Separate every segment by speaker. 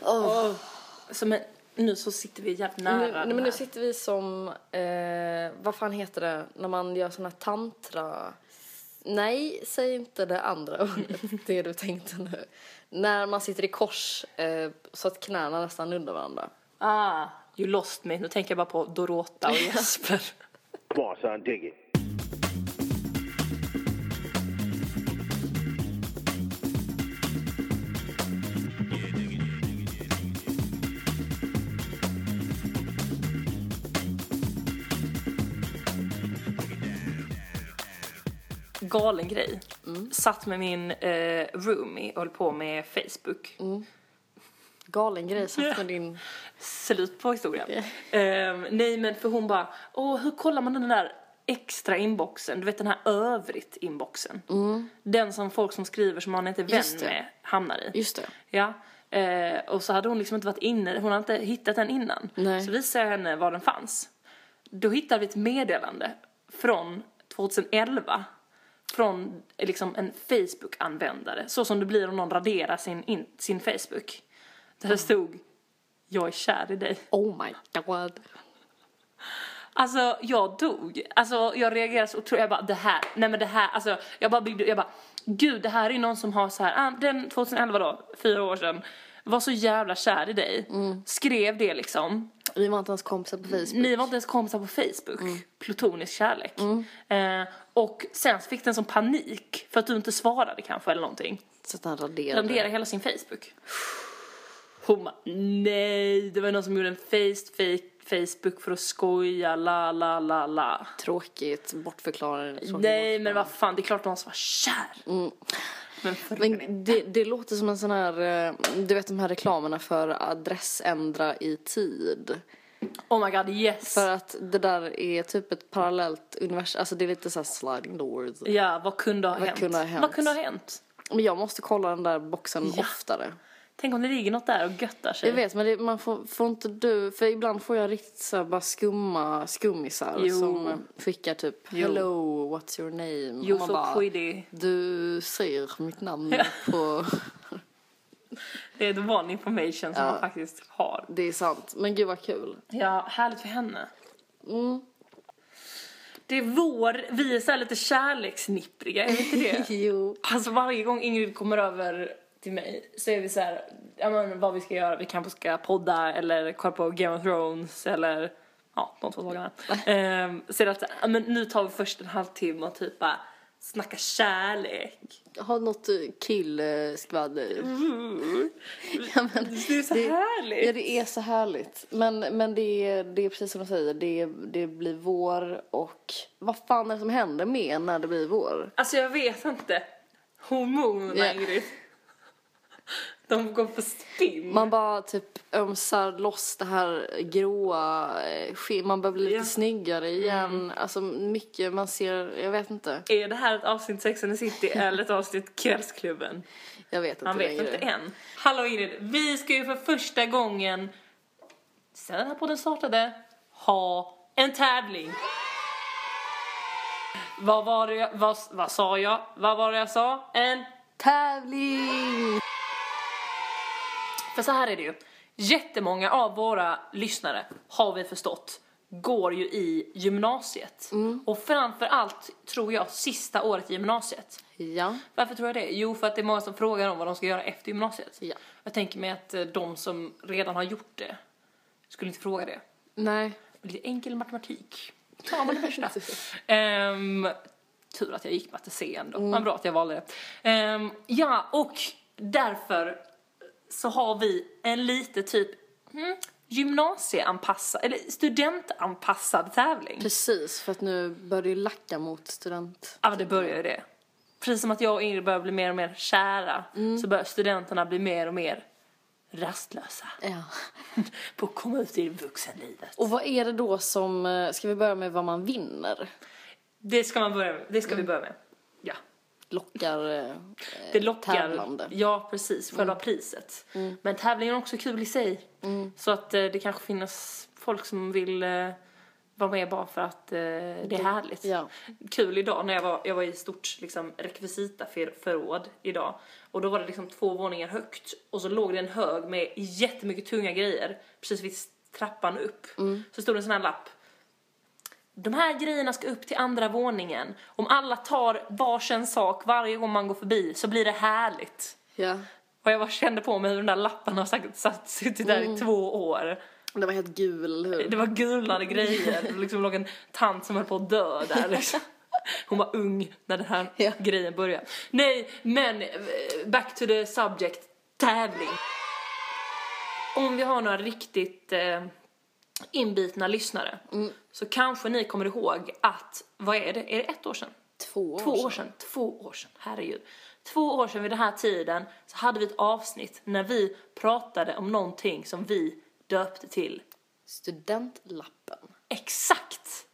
Speaker 1: Åh. Som en, nu så sitter vi jävligt nära
Speaker 2: Nu,
Speaker 1: den
Speaker 2: nej, men nu
Speaker 1: här.
Speaker 2: sitter vi som, eh, vad fan heter det, när man gör såna här tantra... Nej, säg inte det andra ordet, det du tänkte nu. När man sitter i kors eh, så att knäna nästan nuddar varandra.
Speaker 1: Ah, you lost me. Nu tänker jag bara på Dorota och Jesper.
Speaker 3: Come on, son, dig it.
Speaker 1: Galen grej.
Speaker 2: Mm.
Speaker 1: Satt med min eh, roomie och höll på med Facebook.
Speaker 2: Mm. Galen grej, satt med din...
Speaker 1: Slut på historien. Ehm, nej men för hon bara, åh hur kollar man den där extra inboxen? Du vet den här övrigt inboxen. Den som folk som skriver som man inte är vän
Speaker 2: Mm. Just det.
Speaker 1: med hamnar i.
Speaker 2: Just det.
Speaker 1: Ja. Eh, och så hade hon liksom inte varit inne, hon hade inte hittat den innan.
Speaker 2: Nej.
Speaker 1: Så visade jag henne var den fanns. Då hittade vi ett meddelande från 2011. Från eh, liksom en Facebook-användare. Så som det blir om någon raderar sin, in, sin Facebook. Där det stod Jag är kär i dig.
Speaker 2: Oh my god.
Speaker 1: Alltså jag dog. Alltså jag reagerade så otroligt. Jag bara det här, nej men det här, alltså jag bara byggde, jag bara gud det här är ju någon som har så här, ah, den 2011 då, fyra år sedan, var så jävla kär i dig. Skrev det liksom.
Speaker 2: Vi var inte ens kompisar på Facebook.
Speaker 1: Ni var inte ens kompisar på Facebook. Plutonisk kärlek. Eh, och sen så fick den som panik för att du inte svarade kanske eller någonting.
Speaker 2: Så att han raderade.
Speaker 1: Raderade hela sin Facebook. Hon bara, nej det var någon som gjorde en face, fake Facebook för att skoja, la la la la.
Speaker 2: Tråkigt, bortförklarande. tråkigt
Speaker 1: Nej men vad fan, det är klart någon som var kär. Men frågan är...
Speaker 2: Men det, det låter som en sån här, eh, du vet de här reklamerna för adressändra i tid.
Speaker 1: Oh my god, yes!
Speaker 2: För att det där är typ ett parallellt universum, alltså det är lite såhär sliding doors.
Speaker 1: Ja, vad kunde ha hänt?
Speaker 2: kunde ha hänt?
Speaker 1: Vad kunde ha hänt?
Speaker 2: Men jag måste kolla den där boxen
Speaker 1: Ja.
Speaker 2: oftare.
Speaker 1: Tänk om det ligger något där och göttar sig.
Speaker 2: Jag vet men det, man får, får inte du, för ibland får jag riktigt såhär bara skumma skummisar
Speaker 1: Jo.
Speaker 2: som eh, skickar typ
Speaker 1: Jo.
Speaker 2: hello what's your name?
Speaker 1: Jo,
Speaker 2: Och man
Speaker 1: så
Speaker 2: bara,
Speaker 1: skitty.
Speaker 2: du säger mitt namn på,
Speaker 1: Det är the one information som man faktiskt har.
Speaker 2: det är sant. Men gud vad kul.
Speaker 1: Ja, härligt för henne.
Speaker 2: Mm.
Speaker 1: Det är vår, vi är så här lite kärleksnippriga, är vi inte det?
Speaker 2: Jo.
Speaker 1: Alltså varje gång Ingrid kommer över till mig så är vi så här, ja men vad vi ska göra, vi kanske ska podda eller kolla på Game of Thrones eller ja, de två dagarna. Ehm, så är det att, ja men nu tar vi först en halvtimme och typ bara snacka kärlek.
Speaker 2: Ha något eh, killskvaller. Ja, men
Speaker 1: Det är så härligt.
Speaker 2: Ja, det är så härligt. Men, men det, är, det är precis som du säger, det, är, det blir vår och vad fan är det som händer med en när det blir vår?
Speaker 1: Alltså jag vet inte. Hormonerna
Speaker 2: Ja.
Speaker 1: Ingrid. De går på spinn.
Speaker 2: Man bara typ ömsar loss det här gråa, eh, sken- man börjar bli lite
Speaker 1: Ja. Mm.
Speaker 2: snyggare igen. Alltså mycket man ser, jag vet inte.
Speaker 1: Är det här ett avsnitt Sex and the City eller ett avsnitt Kvällsklubben?
Speaker 2: Jag vet inte
Speaker 1: Man vet
Speaker 2: längre.
Speaker 1: inte än. Hallå Ingrid, vi ska ju för första gången sen den här podden startade ha en tävling. Vad var det jag, vad, vad sa jag? Vad var det jag sa? En
Speaker 2: Tävling!
Speaker 1: För så här är det ju. Jättemånga av våra lyssnare, har vi förstått, går ju i gymnasiet. Och framförallt tror jag sista året i gymnasiet.
Speaker 2: Ja.
Speaker 1: Varför tror jag det? Jo, för att det är många som frågar om vad de ska göra efter gymnasiet.
Speaker 2: Ja.
Speaker 1: Jag tänker mig att eh, de som redan har gjort det skulle inte fråga det.
Speaker 2: Nej.
Speaker 1: Lite enkel matematik. Tar man det första. Ehm, tur att jag gick matte C ändå. Men bra att jag valde det. Ehm, ja, och därför så har vi en lite typ mm, gymnasieanpassad, eller studentanpassad tävling.
Speaker 2: Precis, för att nu börjar det ju lacka mot student.
Speaker 1: Ja, det börjar ju det. Precis som att jag och Ingrid börjar bli mer och mer kära så börjar studenterna bli mer och mer rastlösa
Speaker 2: Ja.
Speaker 1: på att komma ut i vuxenlivet.
Speaker 2: Och vad är det då som, eh, ska vi börja med vad man vinner?
Speaker 1: Det ska man börja med. Det ska vi börja med. Ja.
Speaker 2: Lockar eh,
Speaker 1: Det lockar.
Speaker 2: tävlande.
Speaker 1: Ja, precis. Själva priset. Men tävlingen är också kul i sig. Så att eh, det kanske finns folk som vill eh, vara med bara för att eh, det är härligt.
Speaker 2: Ja.
Speaker 1: Kul idag när jag var, jag var i stort liksom, rekvisitaförråd idag och då var det liksom två våningar högt och så låg det en hög med jättemycket tunga grejer precis vid trappan upp. Så stod det en sån här lapp de här grejerna ska upp till andra våningen. Om alla tar varsin sak varje gång man går förbi så blir det härligt.
Speaker 2: Ja.
Speaker 1: Och jag bara kände på mig hur den där lappen har sagt, satt, suttit där i två år.
Speaker 2: Den var helt gul, eller hur?
Speaker 1: Det var gulnade grejer. Det liksom låg en tant som höll på att dö där liksom. Hon var ung när den här
Speaker 2: Ja.
Speaker 1: grejen började. Nej, men eh, back to the subject. Tävling. Om vi har några riktigt eh, inbitna lyssnare så kanske ni kommer ihåg att, vad är det, är det ett år sedan?
Speaker 2: Två år
Speaker 1: Två år sedan. Två år sedan, herregud. Två år sedan vid den här tiden så hade vi ett avsnitt när vi pratade om någonting som vi döpte till
Speaker 2: Studentlappen.
Speaker 1: Exakt!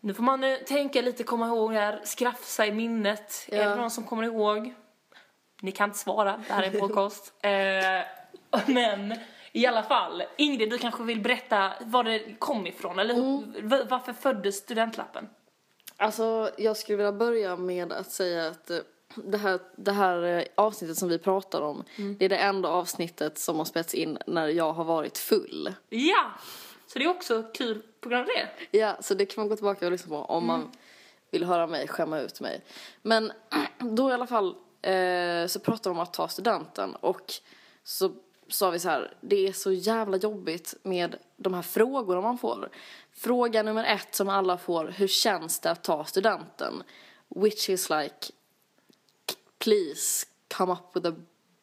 Speaker 1: Nu får man eh, tänka lite, komma ihåg här, skrafsa i minnet.
Speaker 2: Ja.
Speaker 1: Är det någon som kommer ihåg? Ni kan inte svara, det här är en podcast. eh, men i alla fall, Ingrid du kanske vill berätta var det kom ifrån eller
Speaker 2: Mm.
Speaker 1: v- varför föddes studentlappen?
Speaker 2: Alltså, jag skulle vilja börja med att säga att eh, det här, det här eh, avsnittet som vi pratar om, det är det enda avsnittet som har spelats in när jag har varit full.
Speaker 1: Ja! Så det är också kul på grund av det.
Speaker 2: Ja, så det kan man gå tillbaka och lyssna på om man vill höra mig skämma ut mig. Men då i alla fall eh, så pratade de om att ta studenten och så sa vi så här, det är så jävla jobbigt med de här frågorna man får. Fråga nummer ett som alla får, hur känns det att ta studenten? Which is like, please come up with a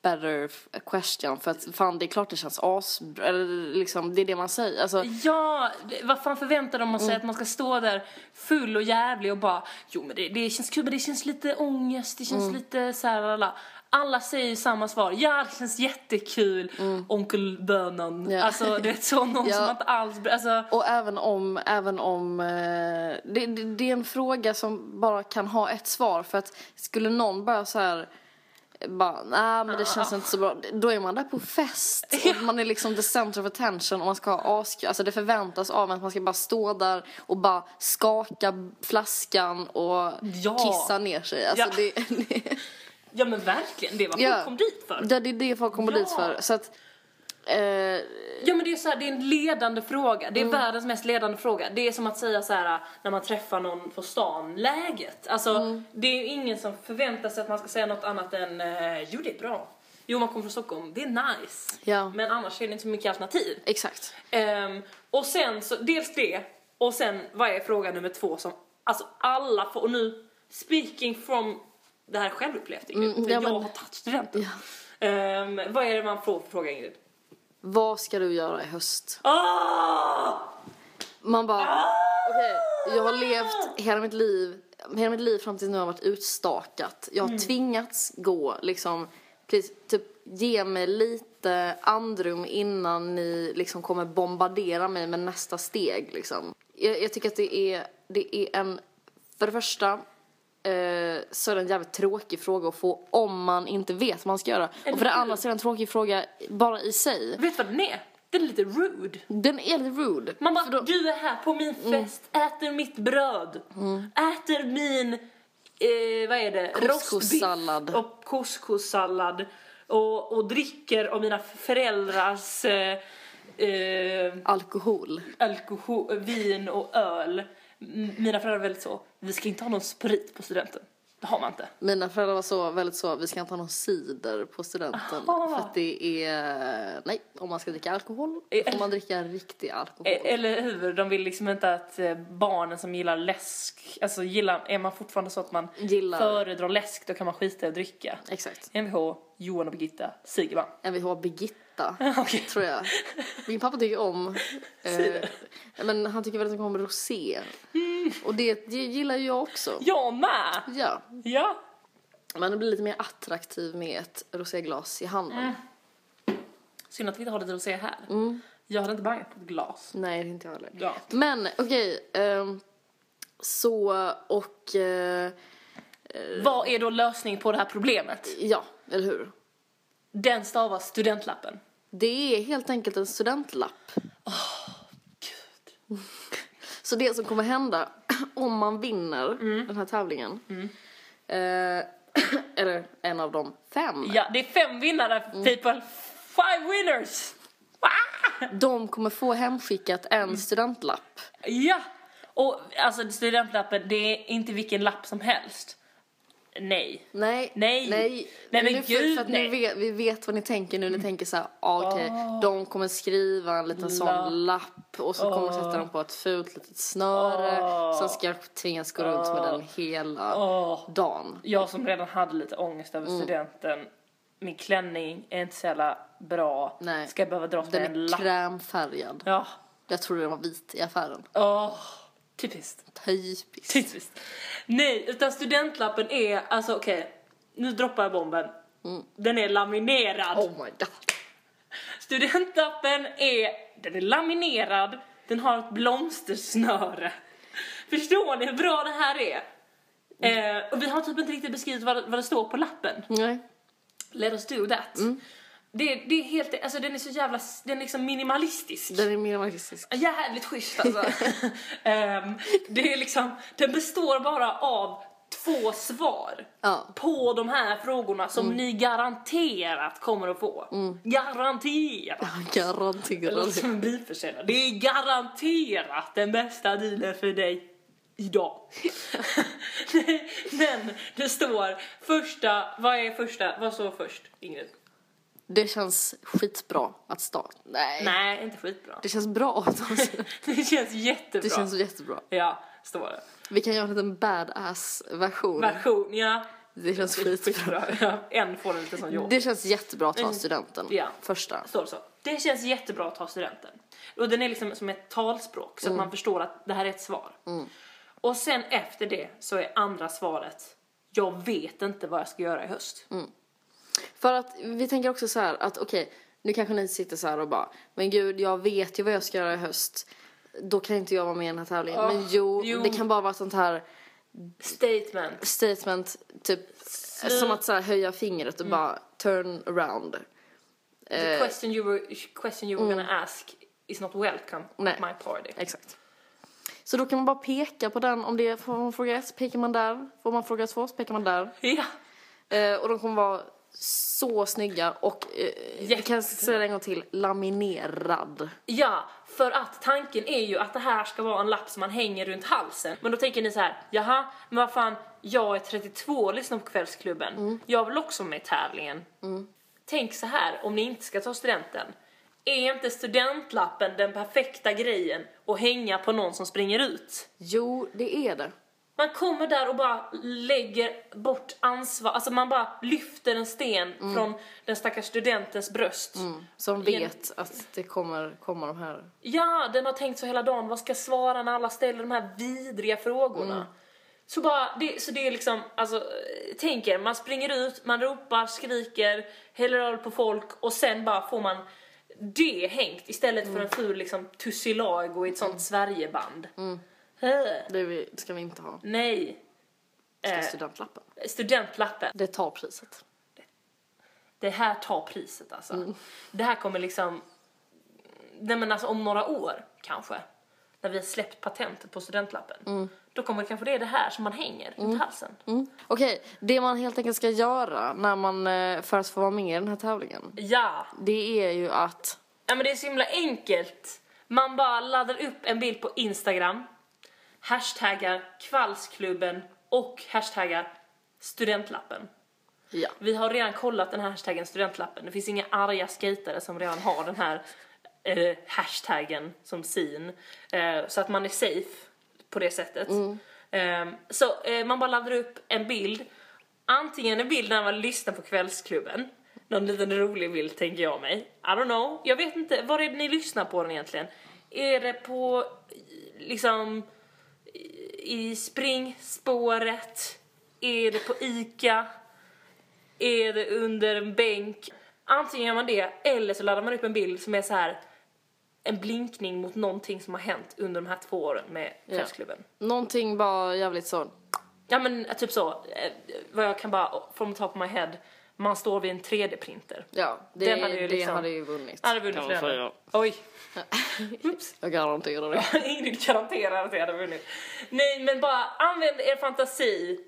Speaker 2: better f- question för att fan det är klart det känns as eller liksom det är det man säger alltså
Speaker 1: Ja, det- vad fan förväntar de sig att man ska stå där full och jävlig och bara Jo men det, det känns kul men det känns lite ångest, det känns lite såhär alla. alla säger ju samma svar, ja det känns jättekul onkel bönan.
Speaker 2: Ja.
Speaker 1: Alltså du vet så någon
Speaker 2: Ja.
Speaker 1: som inte alls, alltså
Speaker 2: Och även om, även om eh, det, det, det är en fråga som bara kan ha ett svar för att skulle någon bara så här eh, bara, nej men det känns inte så bra. Då är man där på fest. Och man är liksom the center of attention och man ska ha ask, alltså det förväntas av en att man ska bara stå där och bara skaka flaskan och
Speaker 1: Ja.
Speaker 2: kissa ner sig. Alltså
Speaker 1: Ja.
Speaker 2: det, det,
Speaker 1: ja men verkligen det var folk
Speaker 2: Ja.
Speaker 1: kom dit för.
Speaker 2: ja, det är det folk kommer
Speaker 1: Ja.
Speaker 2: dit för. Så att, eh,
Speaker 1: Ja men det är så här, det är en ledande fråga. Det är
Speaker 2: Mm.
Speaker 1: världens mest ledande fråga. Det är som att säga så här när man träffar någon på stan, läget. Alltså
Speaker 2: Mm.
Speaker 1: det är ju ingen som förväntar sig att man ska säga något annat än eh, jo det är bra. Jo man kommer från Stockholm, det är nice.
Speaker 2: Ja.
Speaker 1: Men annars är det inte så mycket alternativ.
Speaker 2: exakt.
Speaker 1: Ehm, och sen så, dels det, och sen vad är fråga nummer två som alltså alla får, och nu speaking from det här är självupplevt Ingrid,
Speaker 2: Mm,
Speaker 1: för
Speaker 2: ja,
Speaker 1: jag
Speaker 2: men-
Speaker 1: har tagit studenten. Ehm, vad är det man får för fråga Ingrid?
Speaker 2: Vad ska du göra i höst?
Speaker 1: Ah!
Speaker 2: Man bara, okej, jag har levt hela mitt liv, hela mitt liv fram till nu har varit utstakat. Jag har tvingats gå liksom, please, typ ge mig lite andrum innan ni liksom kommer bombardera mig med nästa steg liksom. Jag, jag tycker att det är, det är en, för det första, eh, så är det en jävligt tråkig fråga att få om man inte vet vad man ska göra. Och för det
Speaker 1: hur?
Speaker 2: andra så är det en tråkig fråga bara i sig.
Speaker 1: Vet du vad den är? Den är lite rude.
Speaker 2: Den är lite rude.
Speaker 1: Man bara,
Speaker 2: För då- Mm.
Speaker 1: du är här på min fest, äter mitt bröd, äter min, eh, vad är det,
Speaker 2: Couscous-sallad.
Speaker 1: Rostbiff och couscoussallad och, och dricker av mina föräldrars eh, eh,
Speaker 2: Alkohol.
Speaker 1: alkohol, vin och öl. M- Mina föräldrar var väldigt så, vi ska inte ha någon sprit på studenten. Det har man inte.
Speaker 2: Mina föräldrar var så, väldigt så, vi ska inte ha någon cider på studenten.
Speaker 1: Aha.
Speaker 2: För att det är, nej, om man ska dricka alkohol då
Speaker 1: Eh.
Speaker 2: får man dricka riktig alkohol.
Speaker 1: E- Eller hur? De vill liksom inte att eh, barnen som gillar läsk, alltså gillar, är man fortfarande så att man
Speaker 2: Gillar.
Speaker 1: föredrar läsk då kan man skita i att dricka.
Speaker 2: Exakt.
Speaker 1: Mvh, Johan och Birgitta, Sigerman.
Speaker 2: Mvh Birgitta,
Speaker 1: Okej.
Speaker 2: tror jag. Min pappa tycker om, eh, men han tycker väldigt mycket om rosé.
Speaker 1: Mm.
Speaker 2: Och det gillar ju jag också.
Speaker 1: Jag med!
Speaker 2: Ja,
Speaker 1: Ja.
Speaker 2: men det blir lite mer attraktiv med ett roséglas i handen.
Speaker 1: Mm. Synd att vi inte har det att se här. Jag hade inte bangat på ett glas.
Speaker 2: Nej, det är inte jag heller.
Speaker 1: Ja.
Speaker 2: Men okej, ehm, så och eh,
Speaker 1: Vad är då lösningen på det här problemet?
Speaker 2: ja, eller hur?
Speaker 1: Den stavas studentlappen.
Speaker 2: Det är helt enkelt en studentlapp.
Speaker 1: Gud.
Speaker 2: Så det som kommer hända om man vinner
Speaker 1: Mm.
Speaker 2: den här tävlingen. Eh, eller en av de fem.
Speaker 1: Ja, det är fem vinnare people. Five winners! Ah!
Speaker 2: De kommer få hemskickat
Speaker 1: Mm.
Speaker 2: en studentlapp.
Speaker 1: Ja! Och alltså studentlappen, det är inte vilken lapp som helst. Nej.
Speaker 2: Nej.
Speaker 1: Nej.
Speaker 2: Nej,
Speaker 1: Nej, men
Speaker 2: nu,
Speaker 1: gud,
Speaker 2: för, för att
Speaker 1: nej. Mm.
Speaker 2: Ni vet, vi vet vad ni tänker nu. Ni tänker så här, ah, okej, de kommer skriva en liten sån lapp och så kommer sätta dem på ett fult litet snöre.
Speaker 1: Ah.
Speaker 2: Sen ska jag tvingas gå runt med den hela
Speaker 1: Åh.
Speaker 2: dagen.
Speaker 1: Jag som redan hade lite ångest
Speaker 2: Mm.
Speaker 1: över studenten. Min klänning är inte så jävla bra.
Speaker 2: Nej.
Speaker 1: Ska jag behöva dras med
Speaker 2: Den
Speaker 1: en
Speaker 2: är
Speaker 1: lapp?
Speaker 2: krämfärgad.
Speaker 1: Ja.
Speaker 2: Jag trodde den var vit i affären.
Speaker 1: Åh. Typiskt.
Speaker 2: Typiskt.
Speaker 1: Typiskt. Nej, utan studentlappen är, alltså okej, nu droppar jag bomben.
Speaker 2: Mm.
Speaker 1: Den är laminerad.
Speaker 2: Oh my god.
Speaker 1: Studentlappen är, den är laminerad, den har ett blomstersnöre. Förstår ni hur bra det här är? Eh, och vi har typ inte riktigt beskrivit vad, vad det står på lappen.
Speaker 2: Nej.
Speaker 1: Let us do that. Det, det är helt, alltså den är så jävla, den är liksom minimalistisk.
Speaker 2: Den är mer marxistisk.
Speaker 1: Jävligt schysst alltså. Ehm, det är liksom, den består bara av två svar
Speaker 2: Ja.
Speaker 1: på de här frågorna som ni garanterat kommer att få. Garanterat! Det
Speaker 2: Garanterad.
Speaker 1: låter som en bilförsäljare. Det är garanterat den bästa dealen för dig idag. Nej, Men det står första, vad är första, vad står först Ingrid?
Speaker 2: Eh. Det känns skitbra att starta. Nej.
Speaker 1: Nej, inte skitbra.
Speaker 2: Det känns bra. att starta.
Speaker 1: Det känns jättebra.
Speaker 2: Det känns jättebra.
Speaker 1: Ja, står det.
Speaker 2: Vi kan göra en liten badass-version.
Speaker 1: Version, ja.
Speaker 2: Det känns skitbra.
Speaker 1: Ja, En får den lite som jag.
Speaker 2: Det känns jättebra att ta studenten.
Speaker 1: Mm. Ja.
Speaker 2: Första.
Speaker 1: Står det så. Alltså, Det känns jättebra att ta studenten. Och den är liksom som ett talspråk så att man förstår att det här är ett svar. Och sen efter det så är andra svaret, jag vet inte vad jag ska göra i höst.
Speaker 2: För att vi tänker också så här att okej, nu kanske ni sitter så här och bara men gud jag vet ju vad jag ska göra i höst. Då kan inte jag vara med i den här tävlingen.
Speaker 1: Ah,
Speaker 2: men jo,
Speaker 1: jo.
Speaker 2: det kan bara vara ett sånt här
Speaker 1: Statement.
Speaker 2: statement typ som att så här, höja fingret
Speaker 1: Mm.
Speaker 2: och bara turn around.
Speaker 1: The question you were, question you were gonna ask is not welcome
Speaker 2: Nej.
Speaker 1: at my party.
Speaker 2: Exakt. Så då kan man bara peka på den om det är, får man fråga ett så pekar man där, får man fråga två så pekar man där.
Speaker 1: Ja.
Speaker 2: Eh, och de kommer vara så snygga och eh, jag kan säga det en gång till, laminerad.
Speaker 1: ja, för att tanken är ju att det här ska vara en lapp som man hänger runt halsen. Men då tänker ni så här, jaha, men vad fan, jag är 32 och lyssnar på Kvällsklubben. Jag vill också med i tävlingen. Tänk så här, om ni inte ska ta studenten. Är inte studentlappen den perfekta grejen att hänga på någon som springer ut?
Speaker 2: Jo, det är det.
Speaker 1: Man kommer där och bara lägger bort ansvar, alltså man bara lyfter en sten från den stackars studentens bröst.
Speaker 2: Mm. Som vet att det kommer komma de här.
Speaker 1: Ja, den har tänkt så hela dagen, vad ska jag svara när alla ställer de här vidriga frågorna? Så bara, det, så det är liksom, alltså, eh, tänk er, man springer ut, man ropar, skriker, häller öl på folk och sen bara får man det hängt istället för en ful liksom tussilago i ett sånt Sverigeband. Eh,
Speaker 2: Det vi, ska vi inte ha.
Speaker 1: Nej,
Speaker 2: Ska
Speaker 1: Eh.
Speaker 2: studentlappen.
Speaker 1: studentlappen.
Speaker 2: Det tar priset.
Speaker 1: det här tar priset alltså.
Speaker 2: Mm.
Speaker 1: Det här kommer liksom, nej men alltså om några år kanske, när vi har släppt patentet på studentlappen, då kommer det kanske det är det här som man hänger runt halsen.
Speaker 2: Mm. Okej, det man helt enkelt ska göra när man, eh, för att få vara med i den här tävlingen.
Speaker 1: Ja,
Speaker 2: Det är ju att
Speaker 1: ja men det är så himla enkelt. Man bara laddar upp en bild på Instagram, hashtaggar kvällsklubben och hashtaggar studentlappen.
Speaker 2: Ja.
Speaker 1: Vi har redan kollat den här hashtaggen studentlappen. Det finns inga arga skejtare som redan har den här eh, hashtaggen som sin. Eh, så att man är safe på det sättet. Eh, så eh, man bara laddar upp en bild. Antingen en bild när man lyssnar på kvällsklubben. Någon liten rolig bild tänker jag mig. I don't know. Jag vet inte, var är det ni lyssnar på den egentligen? Är det på eh, liksom i- i springspåret? Är det på ICA? är det under en bänk. Antingen gör man det eller så laddar man upp en bild som är så här en blinkning mot någonting som har hänt under de här två åren med Kvällsklubben.
Speaker 2: någonting bara jävligt så.
Speaker 1: Ja men eh, typ så, eh, vad jag kan bara from the top of my head man står vid en 3D-printer.
Speaker 2: Ja, det,
Speaker 1: Den hade ju
Speaker 2: det
Speaker 1: liksom-
Speaker 2: hade ju vunnit.
Speaker 1: Hade vunnit
Speaker 2: kan
Speaker 1: för
Speaker 2: man
Speaker 1: den.
Speaker 2: säga.
Speaker 1: Oj,
Speaker 2: Jag garanterar det.
Speaker 1: Ingrid garanterar att jag hade vunnit. Nej, men bara använd er fantasi.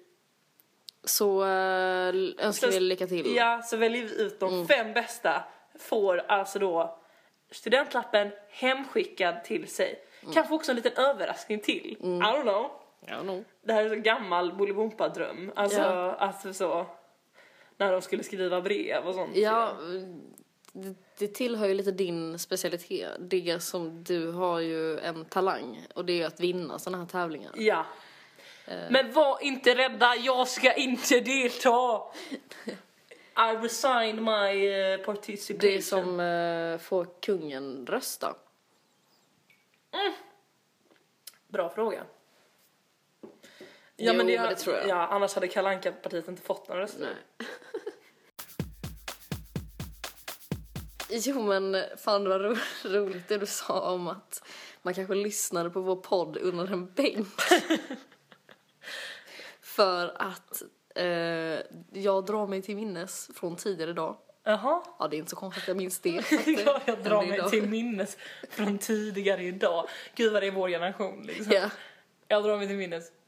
Speaker 2: Så eh, önskar vi lycka till. Mm.
Speaker 1: Ja, så väljer vi ut de fem bästa. Får alltså då studentlappen hemskickad till sig.
Speaker 2: Mm.
Speaker 1: Kanske också en liten överraskning till. I don't know.
Speaker 2: Ja, nog.
Speaker 1: Det här är så gammal Bolibompa-dröm. Alltså,
Speaker 2: Ja.
Speaker 1: alltså så. När de skulle skriva brev och sånt.
Speaker 2: Ja, det, det tillhör ju lite din specialitet. Det som du har ju en talang och det är ju att vinna sådana här tävlingar.
Speaker 1: Ja.
Speaker 2: Eh.
Speaker 1: Men var inte rädda, jag ska inte delta! I resign my eh, participation.
Speaker 2: Det som eh, får kungen rösta.
Speaker 1: Bra fråga.
Speaker 2: Jo, men det tror jag.
Speaker 1: Ja, annars hade Kalle Anka-partiet inte fått några röster.
Speaker 2: Nej. Jo men fan vad ro- roligt det du sa om att man kanske lyssnade på vår podd under en bänk. För att eh, jag drar mig till minnes från tidigare dag.
Speaker 1: Jaha.
Speaker 2: Ja det är inte så konstigt att jag minns det.
Speaker 1: Ja, jag drar
Speaker 2: Det är
Speaker 1: mig
Speaker 2: idag.
Speaker 1: till minnes från tidigare idag. Gud vad det är vår generation liksom.
Speaker 2: Ja.
Speaker 1: Jag drar mig till minnes.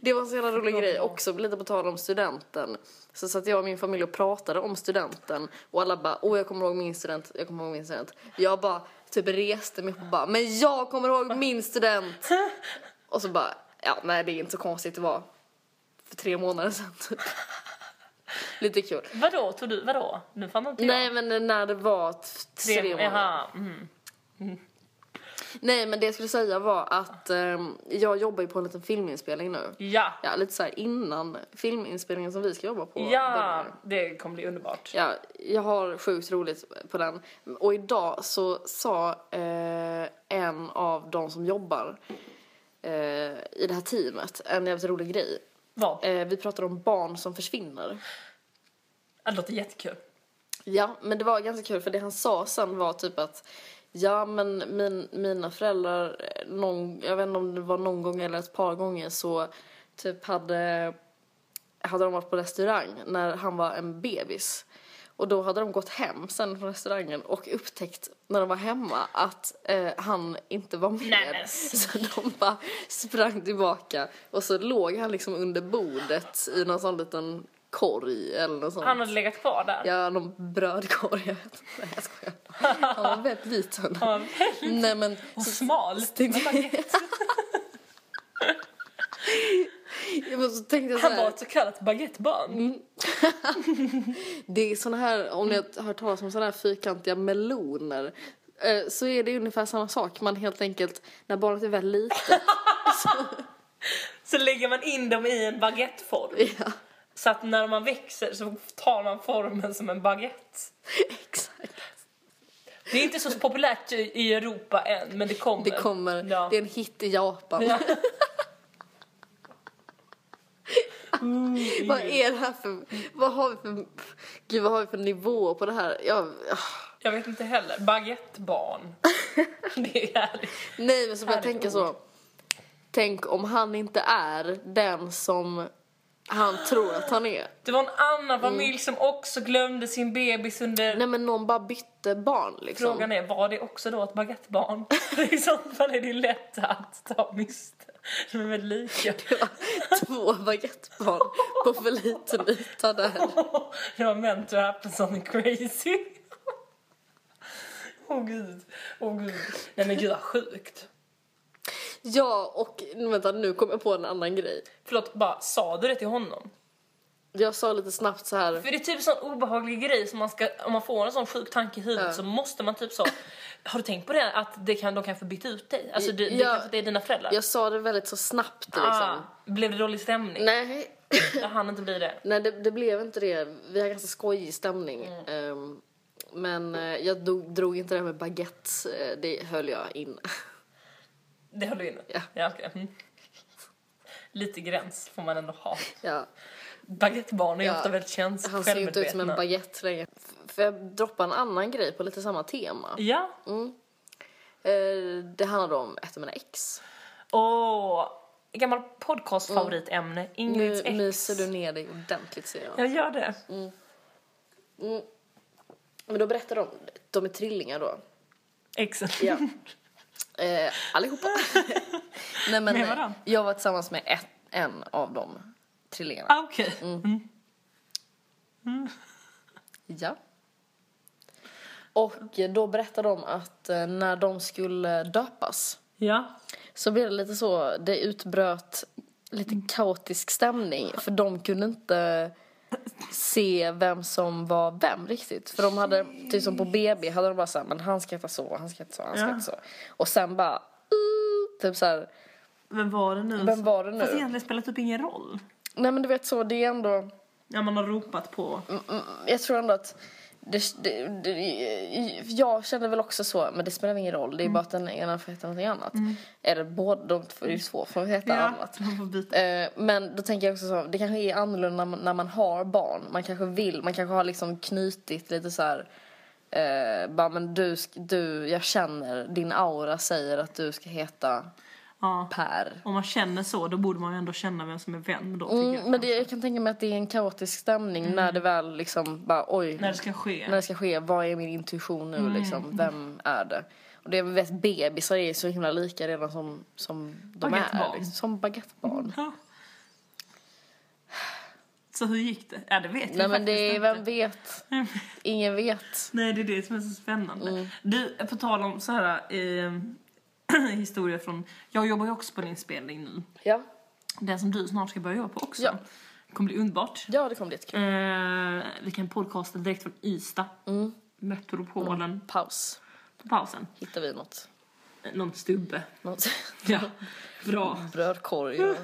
Speaker 2: Det var en så jävla rolig grej också, lite på tal om studenten. Så satt jag och min familj och pratade om studenten och alla bara åh jag kommer ihåg min student, jag kommer ihåg min student. Jag bara typ reste mig upp och bara men jag kommer ihåg min student! Och så bara ja nej det är inte så konstigt det var för tre månader sedan typ. Lite kul.
Speaker 1: Vadå, tog du, vadå? Nu fattar inte
Speaker 2: Nej men när det var t-
Speaker 1: jag.
Speaker 2: tre månader.
Speaker 1: Jaha. Mm.
Speaker 2: Nej men det jag skulle säga var att ehm, jag jobbar ju på en liten filminspelning nu.
Speaker 1: Ja.
Speaker 2: Ja lite såhär innan filminspelningen som vi ska jobba på.
Speaker 1: Ja,
Speaker 2: börjar.
Speaker 1: det kommer bli underbart.
Speaker 2: Ja, jag har sjukt roligt på den. Och idag så sa eh, en av de som jobbar eh, i det här teamet en jävligt rolig grej.
Speaker 1: Vad?
Speaker 2: Eh, vi pratade om barn som försvinner.
Speaker 1: Det låter jättekul.
Speaker 2: Ja, men det var ganska kul för det han sa sen var typ att Ja men min, mina föräldrar, eh, någon, jag vet inte om det var någon gång eller ett par gånger så typ hade, hade de varit på restaurang när han var en bebis. Och då hade de gått hem sen från restaurangen och upptäckt när de var hemma att eh, han inte var med.
Speaker 1: Nej, men
Speaker 2: Så de bara sprang tillbaka och så låg han liksom under bordet i någon sån liten korg eller något sånt.
Speaker 1: Han hade legat kvar där.
Speaker 2: Ja, någon brödkorg. Jag vet inte. Nej, jag skojar. Han var väldigt liten.
Speaker 1: Han var väldigt
Speaker 2: Nej, men...
Speaker 1: och
Speaker 2: Så,
Speaker 1: smal.
Speaker 2: så tänkte jag... Ja, men så tänkte jag så
Speaker 1: Han var
Speaker 2: här,
Speaker 1: ett så kallat baguettebarn.
Speaker 2: Mm. det är såna här, om ni har hört talas om såna här fyrkantiga meloner eh, så är det ungefär samma sak. Man helt enkelt, när barnet är väl litet,
Speaker 1: Så lägger man in dem i en baguetteform.
Speaker 2: ja,
Speaker 1: Så att när man växer så tar man formen som en baguette.
Speaker 2: exakt.
Speaker 1: Det är inte så populärt i i Europa än, men det kommer.
Speaker 2: Det kommer,
Speaker 1: Ja.
Speaker 2: det är en hit i Japan.
Speaker 1: Ja.
Speaker 2: Vad är det här för, vad har vi för, gud vad har vi för nivå på det här? ah. Jag,
Speaker 1: Jag vet inte heller. Baguettebarn. det är härligt.
Speaker 2: Nej men så börjar jag
Speaker 1: Härligt
Speaker 2: tänka så. Tänk om han inte är den som han tror att han är.
Speaker 1: Det var en annan familj som också glömde sin bebis under...
Speaker 2: Nej men någon bara bytte barn liksom.
Speaker 1: Frågan är, var det också då ett baguettebarn? I så fall är det lätt att ta miste. De är lika.
Speaker 2: Det var två baguettebarn på för liten yta där.
Speaker 1: Det var meant to happen something crazy. Åh gud, åh gud. Nej men gud vad sjukt.
Speaker 2: Ja och vänta nu kom jag på en annan grej.
Speaker 1: Förlåt, bara sa du det till honom?
Speaker 2: Jag sa lite snabbt så här.
Speaker 1: För det är typ en sån obehaglig grej som man ska, om man får en sån sjuk tanke i huvudet
Speaker 2: Ja.
Speaker 1: så måste man typ så, har du tänkt på det att det kan, de kanske byta ut dig? Alltså det, det,
Speaker 2: Ja.
Speaker 1: kanske, det är dina föräldrar?
Speaker 2: Jag sa det väldigt så snabbt liksom.
Speaker 1: ah, blev det dålig stämning?
Speaker 2: Nej.
Speaker 1: Jag hann inte bli det.
Speaker 2: Nej det, det blev inte det. Vi har ganska skojig stämning.
Speaker 1: Mm.
Speaker 2: Ehm, men eh, jag dog, drog inte det här med baguette. eh, Det höll jag in.
Speaker 1: Det höll du inne?
Speaker 2: Ja.
Speaker 1: ja okej. mm. Lite gräns får man ändå ha.
Speaker 2: ja.
Speaker 1: Baguettebarn är ju
Speaker 2: Ja.
Speaker 1: ofta väldigt känsliga
Speaker 2: Han ser ju inte ut som en
Speaker 1: självmedvetna.
Speaker 2: baguette längre. F- För jag droppa en annan grej på lite samma tema.
Speaker 1: Ja.
Speaker 2: Eh, det handlade om ett av mina ex.
Speaker 1: Åh! gammal
Speaker 2: Mm.
Speaker 1: podcastfavoritämne, Ingrids
Speaker 2: Nu
Speaker 1: ex.
Speaker 2: myser du ner dig ordentligt ser jag.
Speaker 1: Jag gör det.
Speaker 2: Mm. Men då berättar de, de är trillingar då.
Speaker 1: Exakt.
Speaker 2: Ja. Eh, allihopa. Nej, men,
Speaker 1: Med
Speaker 2: eh,
Speaker 1: varann?
Speaker 2: jag var tillsammans med ett, en av de trillingarna.
Speaker 1: Ah, Okej.
Speaker 2: Mm. Ja. Och eh, då berättade de att eh, när de skulle döpas
Speaker 1: Ja.
Speaker 2: så blev det lite så, det utbröt lite kaotisk stämning för de kunde inte se vem som var vem riktigt. För de hade, typ som på BB hade de bara såhär, men han ska heta så, han ska heta så, han ska
Speaker 1: Ja.
Speaker 2: heta så. Och sen bara, uh, typ såhär,
Speaker 1: Vem var det nu?
Speaker 2: Vem var det nu?
Speaker 1: Fast egentligen spelar det typ ingen roll.
Speaker 2: nej men du vet så, det är ändå
Speaker 1: Ja, man har ropat på...
Speaker 2: Mm, jag tror ändå att det, det, det, jag kände väl också så, men det spelar ingen roll. Det är bara att den ena får heta någonting annat. Eller båda, de två, det är ju två får heta annat.
Speaker 1: man får byta.
Speaker 2: Eh, Men då tänker jag också så, det kanske är annorlunda när- när man har barn. Man kanske vill, man kanske har liksom knutit lite så här. Eh, bara men du, sk- du, jag känner, din aura säger att du ska heta
Speaker 1: Ja.
Speaker 2: Per.
Speaker 1: Om man känner så, då borde man ju ändå känna vem som är vem då, tycker
Speaker 2: Mm,
Speaker 1: jag. Mm.
Speaker 2: men det, jag kan tänka mig att det är en kaotisk stämning när det väl liksom bara oj.
Speaker 1: När det ska ske. Mm.
Speaker 2: när det ska ske, vad är min intuition nu liksom, vem är det? Och det vet bebisar är ju så himla lika redan som, som de är.
Speaker 1: Baguettebarn.
Speaker 2: Liksom, som baguettebarn.
Speaker 1: Ja. Så hur gick det? Ja, det vet
Speaker 2: Nej
Speaker 1: jag
Speaker 2: men
Speaker 1: faktiskt
Speaker 2: det är,
Speaker 1: inte.
Speaker 2: vem vet? Ingen vet.
Speaker 1: Nej, det är det som är så spännande. Du, på tal om så här eh, historier från... Jag jobbar ju också på en inspelning nu.
Speaker 2: Ja,
Speaker 1: Den som du snart ska börja jobba på också.
Speaker 2: Ja.
Speaker 1: kommer bli underbart.
Speaker 2: ja det kommer bli jättekul.
Speaker 1: Eh, vi kan podcasta direkt från Ystad. Metropolen.
Speaker 2: Paus.
Speaker 1: På pausen.
Speaker 2: Hittar vi något.
Speaker 1: Eh, Någon stubbe.
Speaker 2: något.
Speaker 1: Ja, bra.
Speaker 2: Brödkorg och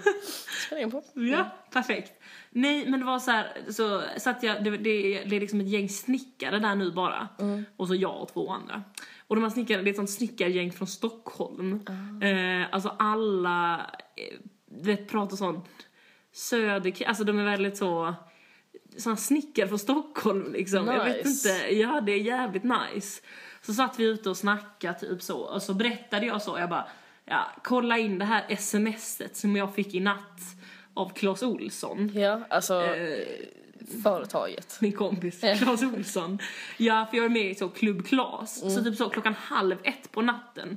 Speaker 2: spelar in på.
Speaker 1: Ja, perfekt. Nej, men det var så här, så satt jag, det, det, är- det är liksom ett gäng snickare där nu bara. Och så jag och två andra. Och de här snickarna, det är ett sånt snickargäng från Stockholm. Eh, alltså alla, eh, det pratar sånt söder, alltså de är väldigt så, såna snickare från Stockholm liksom. Jag vet
Speaker 2: Nice.
Speaker 1: inte, ja det är jävligt nice. Så satt vi ute och snackade typ så, och så berättade jag så, jag bara, ja kolla in det här smset som jag fick i natt av Clas Olsson.
Speaker 2: Ja, alltså företaget.
Speaker 1: Min kompis Clas Olsson. Ja, för jag är med i så Klubb Clas. Så typ så klockan halv ett på natten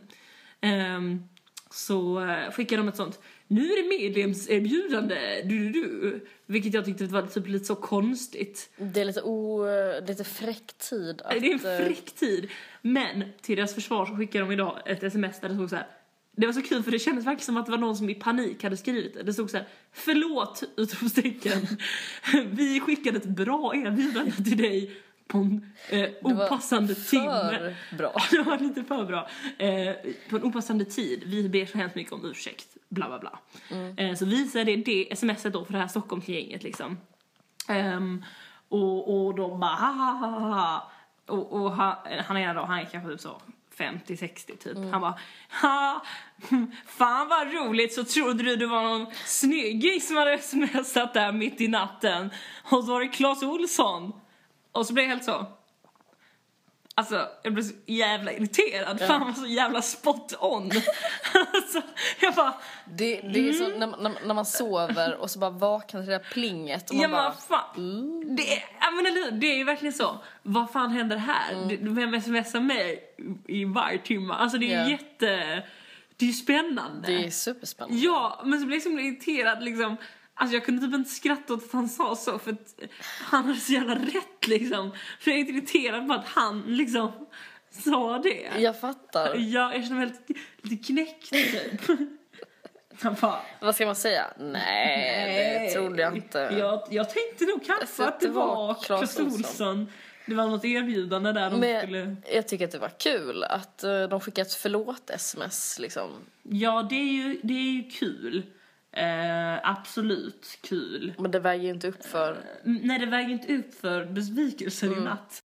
Speaker 1: ehm, så eh, skickade de ett sånt nu är det medlemserbjudande, du, du, du. Vilket jag tyckte var typ lite så konstigt.
Speaker 2: Det är lite, o, det är lite fräck tid att...
Speaker 1: Det är en
Speaker 2: eh,
Speaker 1: fräck tid. Men till deras försvar så skickade de idag ett sms där det stod så här. Det var så kul för det kändes verkligen som att det var någon som i panik hade skrivit det. Det stod så här, förlåt! Utropstecken. Vi skickade ett bra erbjudande till dig på en eh,
Speaker 2: var
Speaker 1: opassande
Speaker 2: för
Speaker 1: timme.
Speaker 2: bra.
Speaker 1: Ja, Det var lite för bra. Eh, på en opassande tid. Vi ber så hemskt mycket om ursäkt. Bla bla bla.
Speaker 2: Mm.
Speaker 1: Eh, så visade det, det smset då för det här Stockholmsgänget liksom. Ehm, och, och de bara ha ha ha ha, ha. Och, och han, han ena då, han är kanske typ så 50-60 typ.
Speaker 2: Mm.
Speaker 1: Han bara ha, fan vad roligt så trodde du det var någon snygging som hade smsat där mitt i natten. Och så var det Clas Olsson. Och så blev jag helt så. Alltså jag blev så jävla irriterad. Fan vad så jävla spot on. alltså, jag bara
Speaker 2: Det, det är
Speaker 1: Mm.
Speaker 2: så när, man- när, man- när man sover och så bara vaknar till det där plinget och man
Speaker 1: Ja men
Speaker 2: bara...
Speaker 1: vad fan. Det, är, ja, men eller hur? det är ju verkligen så. Vad fan händer här?
Speaker 2: Mm.
Speaker 1: Det- Vem smsar mig i varje timme? Alltså det är ju
Speaker 2: Ja.
Speaker 1: jätte... Det är ju spännande.
Speaker 2: Det är superspännande.
Speaker 1: Ja, men så blev jag så himla irriterad liksom. Alltså jag kunde typ inte skratta åt att han sa så för att han hade så jävla rätt liksom. För jag är irriterad på att han liksom sa det.
Speaker 2: Jag fattar.
Speaker 1: Ja, jag känner mig lite, lite knäckt typ. Han bara,
Speaker 2: Vad ska man säga? Nej, det trodde jag inte. Alltså,
Speaker 1: Jag, jag tänkte nog kanske
Speaker 2: Så
Speaker 1: att det var Clas
Speaker 2: Olsson.
Speaker 1: Olsson. Det var något erbjudande där de
Speaker 2: Men
Speaker 1: skulle...
Speaker 2: jag tycker att det var kul att eh, de skickade ett förlåt-sms liksom.
Speaker 1: Ja, det är ju, det är ju kul. Eh, absolut kul.
Speaker 2: Men det väger ju inte upp för...
Speaker 1: Mm, Nej, det väger inte upp för besvikelsen
Speaker 2: Mm.
Speaker 1: i natt.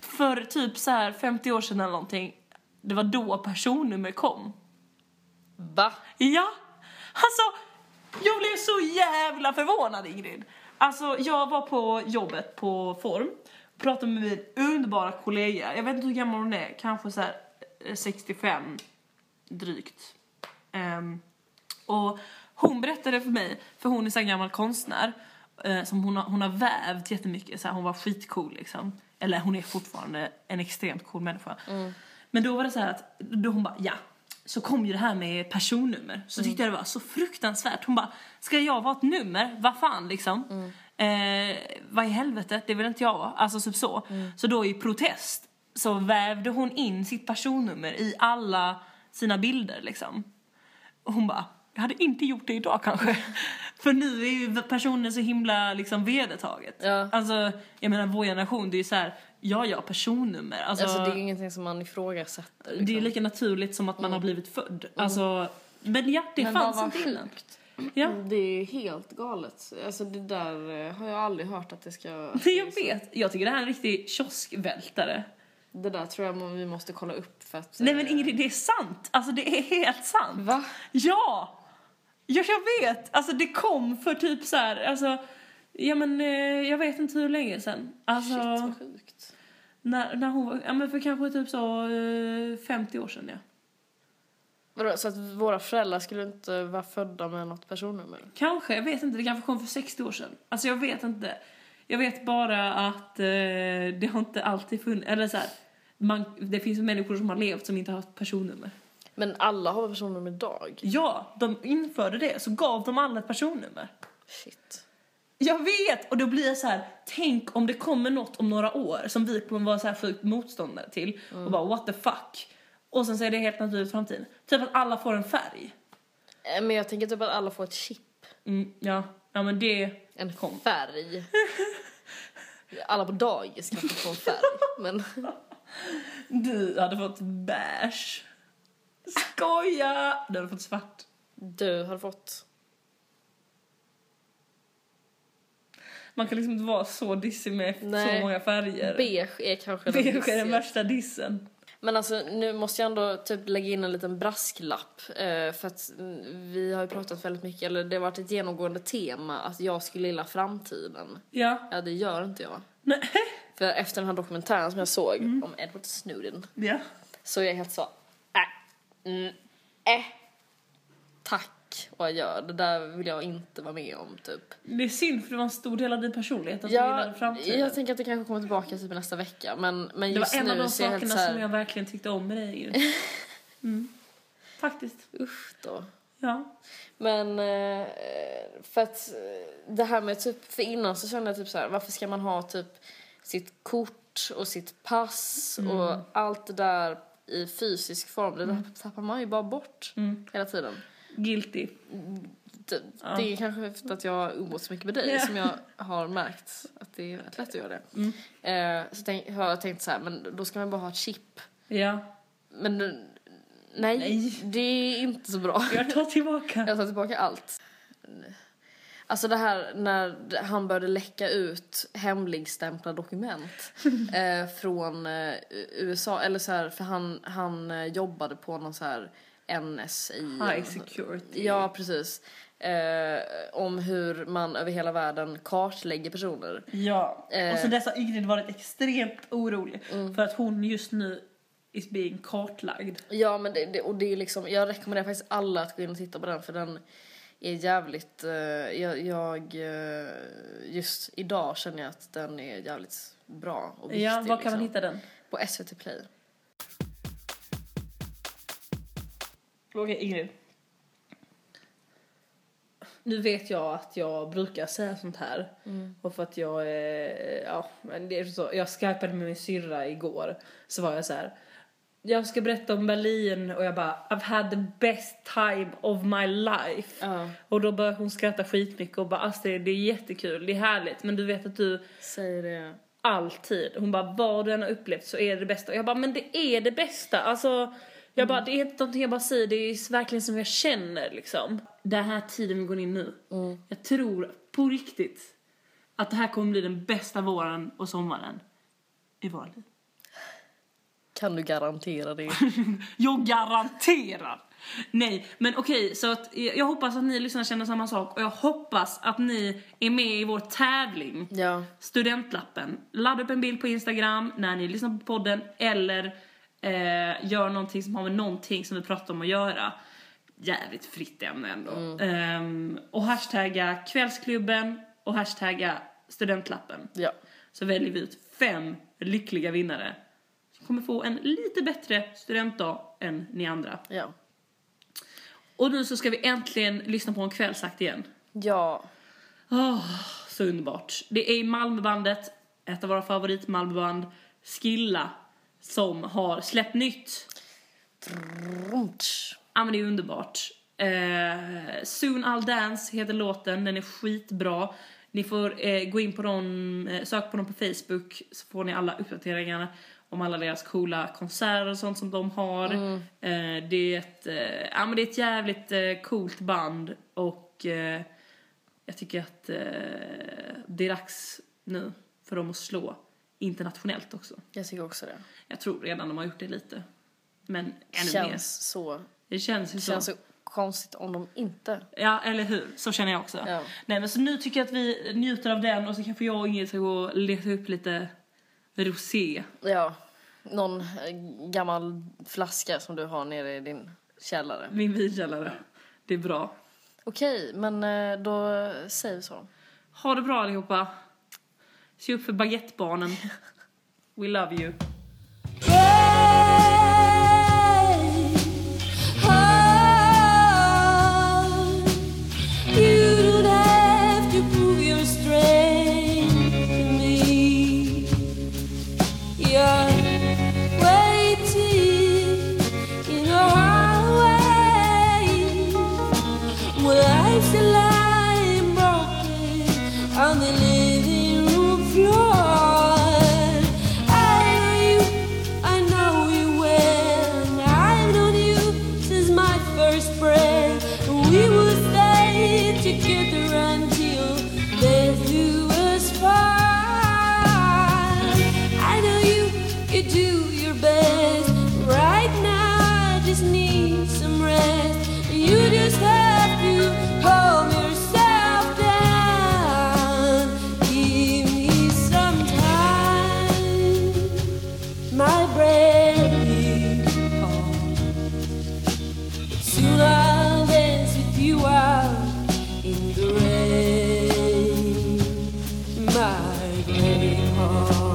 Speaker 1: För typ så här 50 år sedan eller någonting, det var då personnummer kom.
Speaker 2: Va?
Speaker 1: Ja, alltså jag blev så jävla förvånad Ingrid. Alltså jag var på jobbet på Form, pratade med min underbara kollega, jag vet inte hur gammal hon är, kanske så här eh, 65 drygt. Ehm, och hon berättade för mig, för hon är så här gammal konstnär, eh, som hon har, hon har vävt jättemycket. Så här, hon var skitcool liksom. Eller hon är fortfarande en extremt cool människa. Men då var det så här att då hon bara ja. Så kom ju det här med personnummer. Så tyckte jag det var så fruktansvärt. Hon bara, ska jag vara ett nummer? Vad fan liksom. Eh, vad i helvete, det vill inte jag vara. Alltså typ så. Så då i protest så vävde hon in sitt personnummer i alla sina bilder liksom. Och hon bara, jag hade inte gjort det idag kanske. För nu är ju personen så himla liksom vedertaget.
Speaker 2: Ja.
Speaker 1: Alltså, jag menar vår generation, det är ju så här, ja ja, personnummer. Alltså,
Speaker 2: Alltså det är ju ingenting som man ifrågasätter. liksom.
Speaker 1: det är ju lika naturligt som att man har blivit född. Alltså, men ja, det
Speaker 4: Men
Speaker 1: fanns
Speaker 4: vad
Speaker 1: inte
Speaker 4: var
Speaker 1: innan. Ja,
Speaker 2: Mm.
Speaker 4: Det är ju helt galet. Alltså det där eh, har jag aldrig hört att det ska...
Speaker 1: det jag vet. Jag tycker det här är en riktig kioskvältare.
Speaker 4: Det där tror jag vi måste kolla upp för att... eh,
Speaker 1: Nej men Ingrid, det är sant! Alltså det är helt sant!
Speaker 4: Va?
Speaker 1: Ja! Ja, jag vet! Alltså det kom för typ så här, alltså... Ja men eh, jag vet inte hur länge sedan. Alltså,
Speaker 4: Shit vad sjukt.
Speaker 1: när, när hon var, ja men för kanske typ så eh, 50 år sedan ja.
Speaker 4: Vadå, så att våra föräldrar skulle inte vara födda med något personnummer?
Speaker 1: Kanske, jag vet inte. Det kanske kom för 60 år sedan. Alltså jag vet inte. Jag vet bara att eh, det har inte alltid funnits, eller så här, man, det finns människor som har levt som inte har haft personnummer.
Speaker 2: Men alla har personnummer idag.
Speaker 1: Ja, de införde det, så gav de alla ett personnummer.
Speaker 2: Shit.
Speaker 1: Jag vet! Och då blir jag så här: tänk om det kommer något om några år som vi kommer vara så här sjukt motståndare till och bara what the fuck. Och sen så är det helt naturligt i framtiden. Typ att alla får en färg.
Speaker 2: Eh, Men jag tänker typ att alla får ett chip.
Speaker 1: Mm, ja. ja, men det...
Speaker 2: En färg. Alla på dagis kanske får en färg. Men
Speaker 1: Du hade fått beige. Skoja! Du hade fått svart.
Speaker 2: du har fått...
Speaker 1: Man kan liksom inte vara så dissig med
Speaker 2: Nej.
Speaker 1: så många färger.
Speaker 2: Beige är kanske den
Speaker 1: Beige är den
Speaker 2: dixigaste.
Speaker 1: värsta dissen.
Speaker 2: Men alltså nu måste jag ändå typ lägga in en liten brasklapp. eh, För att mm, vi har ju pratat väldigt mycket, eller det har varit ett genomgående tema att jag skulle gilla framtiden.
Speaker 1: Ja.
Speaker 2: Ja, det gör inte jag.
Speaker 1: Nej.
Speaker 2: För efter den här dokumentären som jag såg
Speaker 1: Mm.
Speaker 2: om Edward Snowden
Speaker 1: Ja.
Speaker 2: så är jag helt så... Äh, mm, äh, tack vad jag gör. Det där vill jag inte vara med om typ.
Speaker 1: Det är synd för det var en stor del av din personlighet att du gillade
Speaker 2: Jag,
Speaker 1: framtiden.
Speaker 2: jag tänker att det kanske kommer tillbaka typ nästa vecka men, men
Speaker 1: det
Speaker 2: just
Speaker 1: var en
Speaker 2: nu
Speaker 1: av de
Speaker 2: så är jag helt
Speaker 1: sakerna
Speaker 2: så här,
Speaker 1: som jag verkligen tyckte om med dig Ingrid. mm. Faktiskt.
Speaker 2: usch då.
Speaker 1: Ja.
Speaker 2: Men eh, för att eh, det här med typ, för innan så kände jag typ så här, varför ska man ha typ sitt kort och sitt pass
Speaker 1: Mm.
Speaker 2: och allt det där i fysisk form, det där tappar man ju bara bort hela tiden.
Speaker 1: Guilty.
Speaker 2: Det, det är kanske efter att jag har umgåtts så mycket med dig
Speaker 1: Ja. Mm.
Speaker 2: som jag har märkt att det är rätt lätt att göra det. Eh, så tänk, har jag tänkt så här, men då ska man bara ha ett chip.
Speaker 1: Ja.
Speaker 2: Men nu- nej,
Speaker 1: Nej.
Speaker 2: det är inte så bra.
Speaker 1: Jag tar tillbaka.
Speaker 2: Jag tar tillbaka allt. Alltså det här när han började läcka ut hemligstämplade dokument eh, från eh, USA, eller så här, för han, han eh, jobbade på någon så här NSI.
Speaker 1: High security.
Speaker 2: Ja, precis. Eh, om hur man över hela världen kartlägger personer.
Speaker 1: Ja. Och
Speaker 2: Eh.
Speaker 1: sen dess har Ingrid varit extremt orolig för att hon just nu is being kartlagd.
Speaker 2: Ja, men det, det, och det är liksom, jag rekommenderar faktiskt alla att gå in och titta på den för den är jävligt, eh, jag, jag eh, just idag känner jag att den är jävligt bra och viktig.
Speaker 1: Ja, var kan man
Speaker 2: liksom.
Speaker 1: hitta den?
Speaker 2: På SVT Play.
Speaker 1: Okej, Ingrid. Nu vet jag att jag brukar säga sånt här. Och för att jag, eh, ja, men det är så. Jag skypade med min syrra igår. Så var jag så här. Jag ska berätta om Berlin och jag bara I've had the best time of my life.
Speaker 2: Ja.
Speaker 1: Och då började hon skratta skitmycket och bara Astrid det är jättekul, det är härligt men du vet att du
Speaker 2: Säger det.
Speaker 1: alltid. Hon bara, vad du än har upplevt så är det det bästa. Och jag bara, men det är det bästa. Alltså, jag bara, det är inte någonting jag bara säger, det är verkligen som jag känner liksom. Mm. Den här tiden vi går in nu, jag tror på riktigt att det här kommer bli den bästa våren och sommaren i våra liv.
Speaker 2: Kan du garantera det?
Speaker 1: Jag garanterar! Nej, men okej, så att eh, jag hoppas att ni lyssnare känner samma sak och jag hoppas att ni är med i vår tävling.
Speaker 2: ja.
Speaker 1: Studentlappen. Ladda upp en bild på Instagram när ni lyssnar på podden eller eh, gör någonting som har med någonting som vi pratar om att göra. Jävligt fritt ämne ändå. Ehm, och hashtagga kvällsklubben, och hashtagga studentlappen.
Speaker 4: Ja.
Speaker 1: Så väljer vi ut fem lyckliga vinnare som kommer få en lite bättre studentdag än ni andra.
Speaker 4: Ja.
Speaker 1: Och nu så ska vi äntligen lyssna på en kvällsakt igen.
Speaker 4: Ja.
Speaker 1: Åh, så underbart. Det är Malmöbandet, ett av våra favorit Malmöband, Skilla, som har släppt nytt. Ja men det är underbart. Eh, Soon I'll Dance heter låten, den är skitbra. Ni får eh, gå in på dem, eh, sök på dem på Facebook så får ni alla uppdateringar om alla deras coola konserter och sånt som de har.
Speaker 4: Mm.
Speaker 1: Eh, det, är ett, eh, ja, men det är ett jävligt eh, coolt band och eh, jag tycker att eh, det är dags nu för dem att slå internationellt också.
Speaker 4: Jag tycker också det.
Speaker 1: Jag tror redan de har gjort det lite. Men ännu mer.
Speaker 4: Känns så.
Speaker 1: Det känns ju så.
Speaker 4: Känns så konstigt om de inte.
Speaker 1: Ja, eller hur? Så känner jag också.
Speaker 4: Ja.
Speaker 1: Nej, men så nu tycker jag att vi njuter av den och så kanske jag och Ingrid ska gå och leta upp lite rosé.
Speaker 4: Ja. Någon eh, gammal flaska som du har nere i din källare.
Speaker 1: Min vinkällare. Det är bra.
Speaker 4: Okej, men eh, då säger vi så.
Speaker 1: Ha det bra allihopa. Se upp för baguettebarnen. We love you.
Speaker 5: On the living room floor, I I know you well. I've known you since my first breath. We will stay together until death do us part. I know you, you do your best. Right now, I just need some rest. You just have to hold yourself down. Give me some time my brand new home. Soon I'll dance with you out in the rain, my brave home.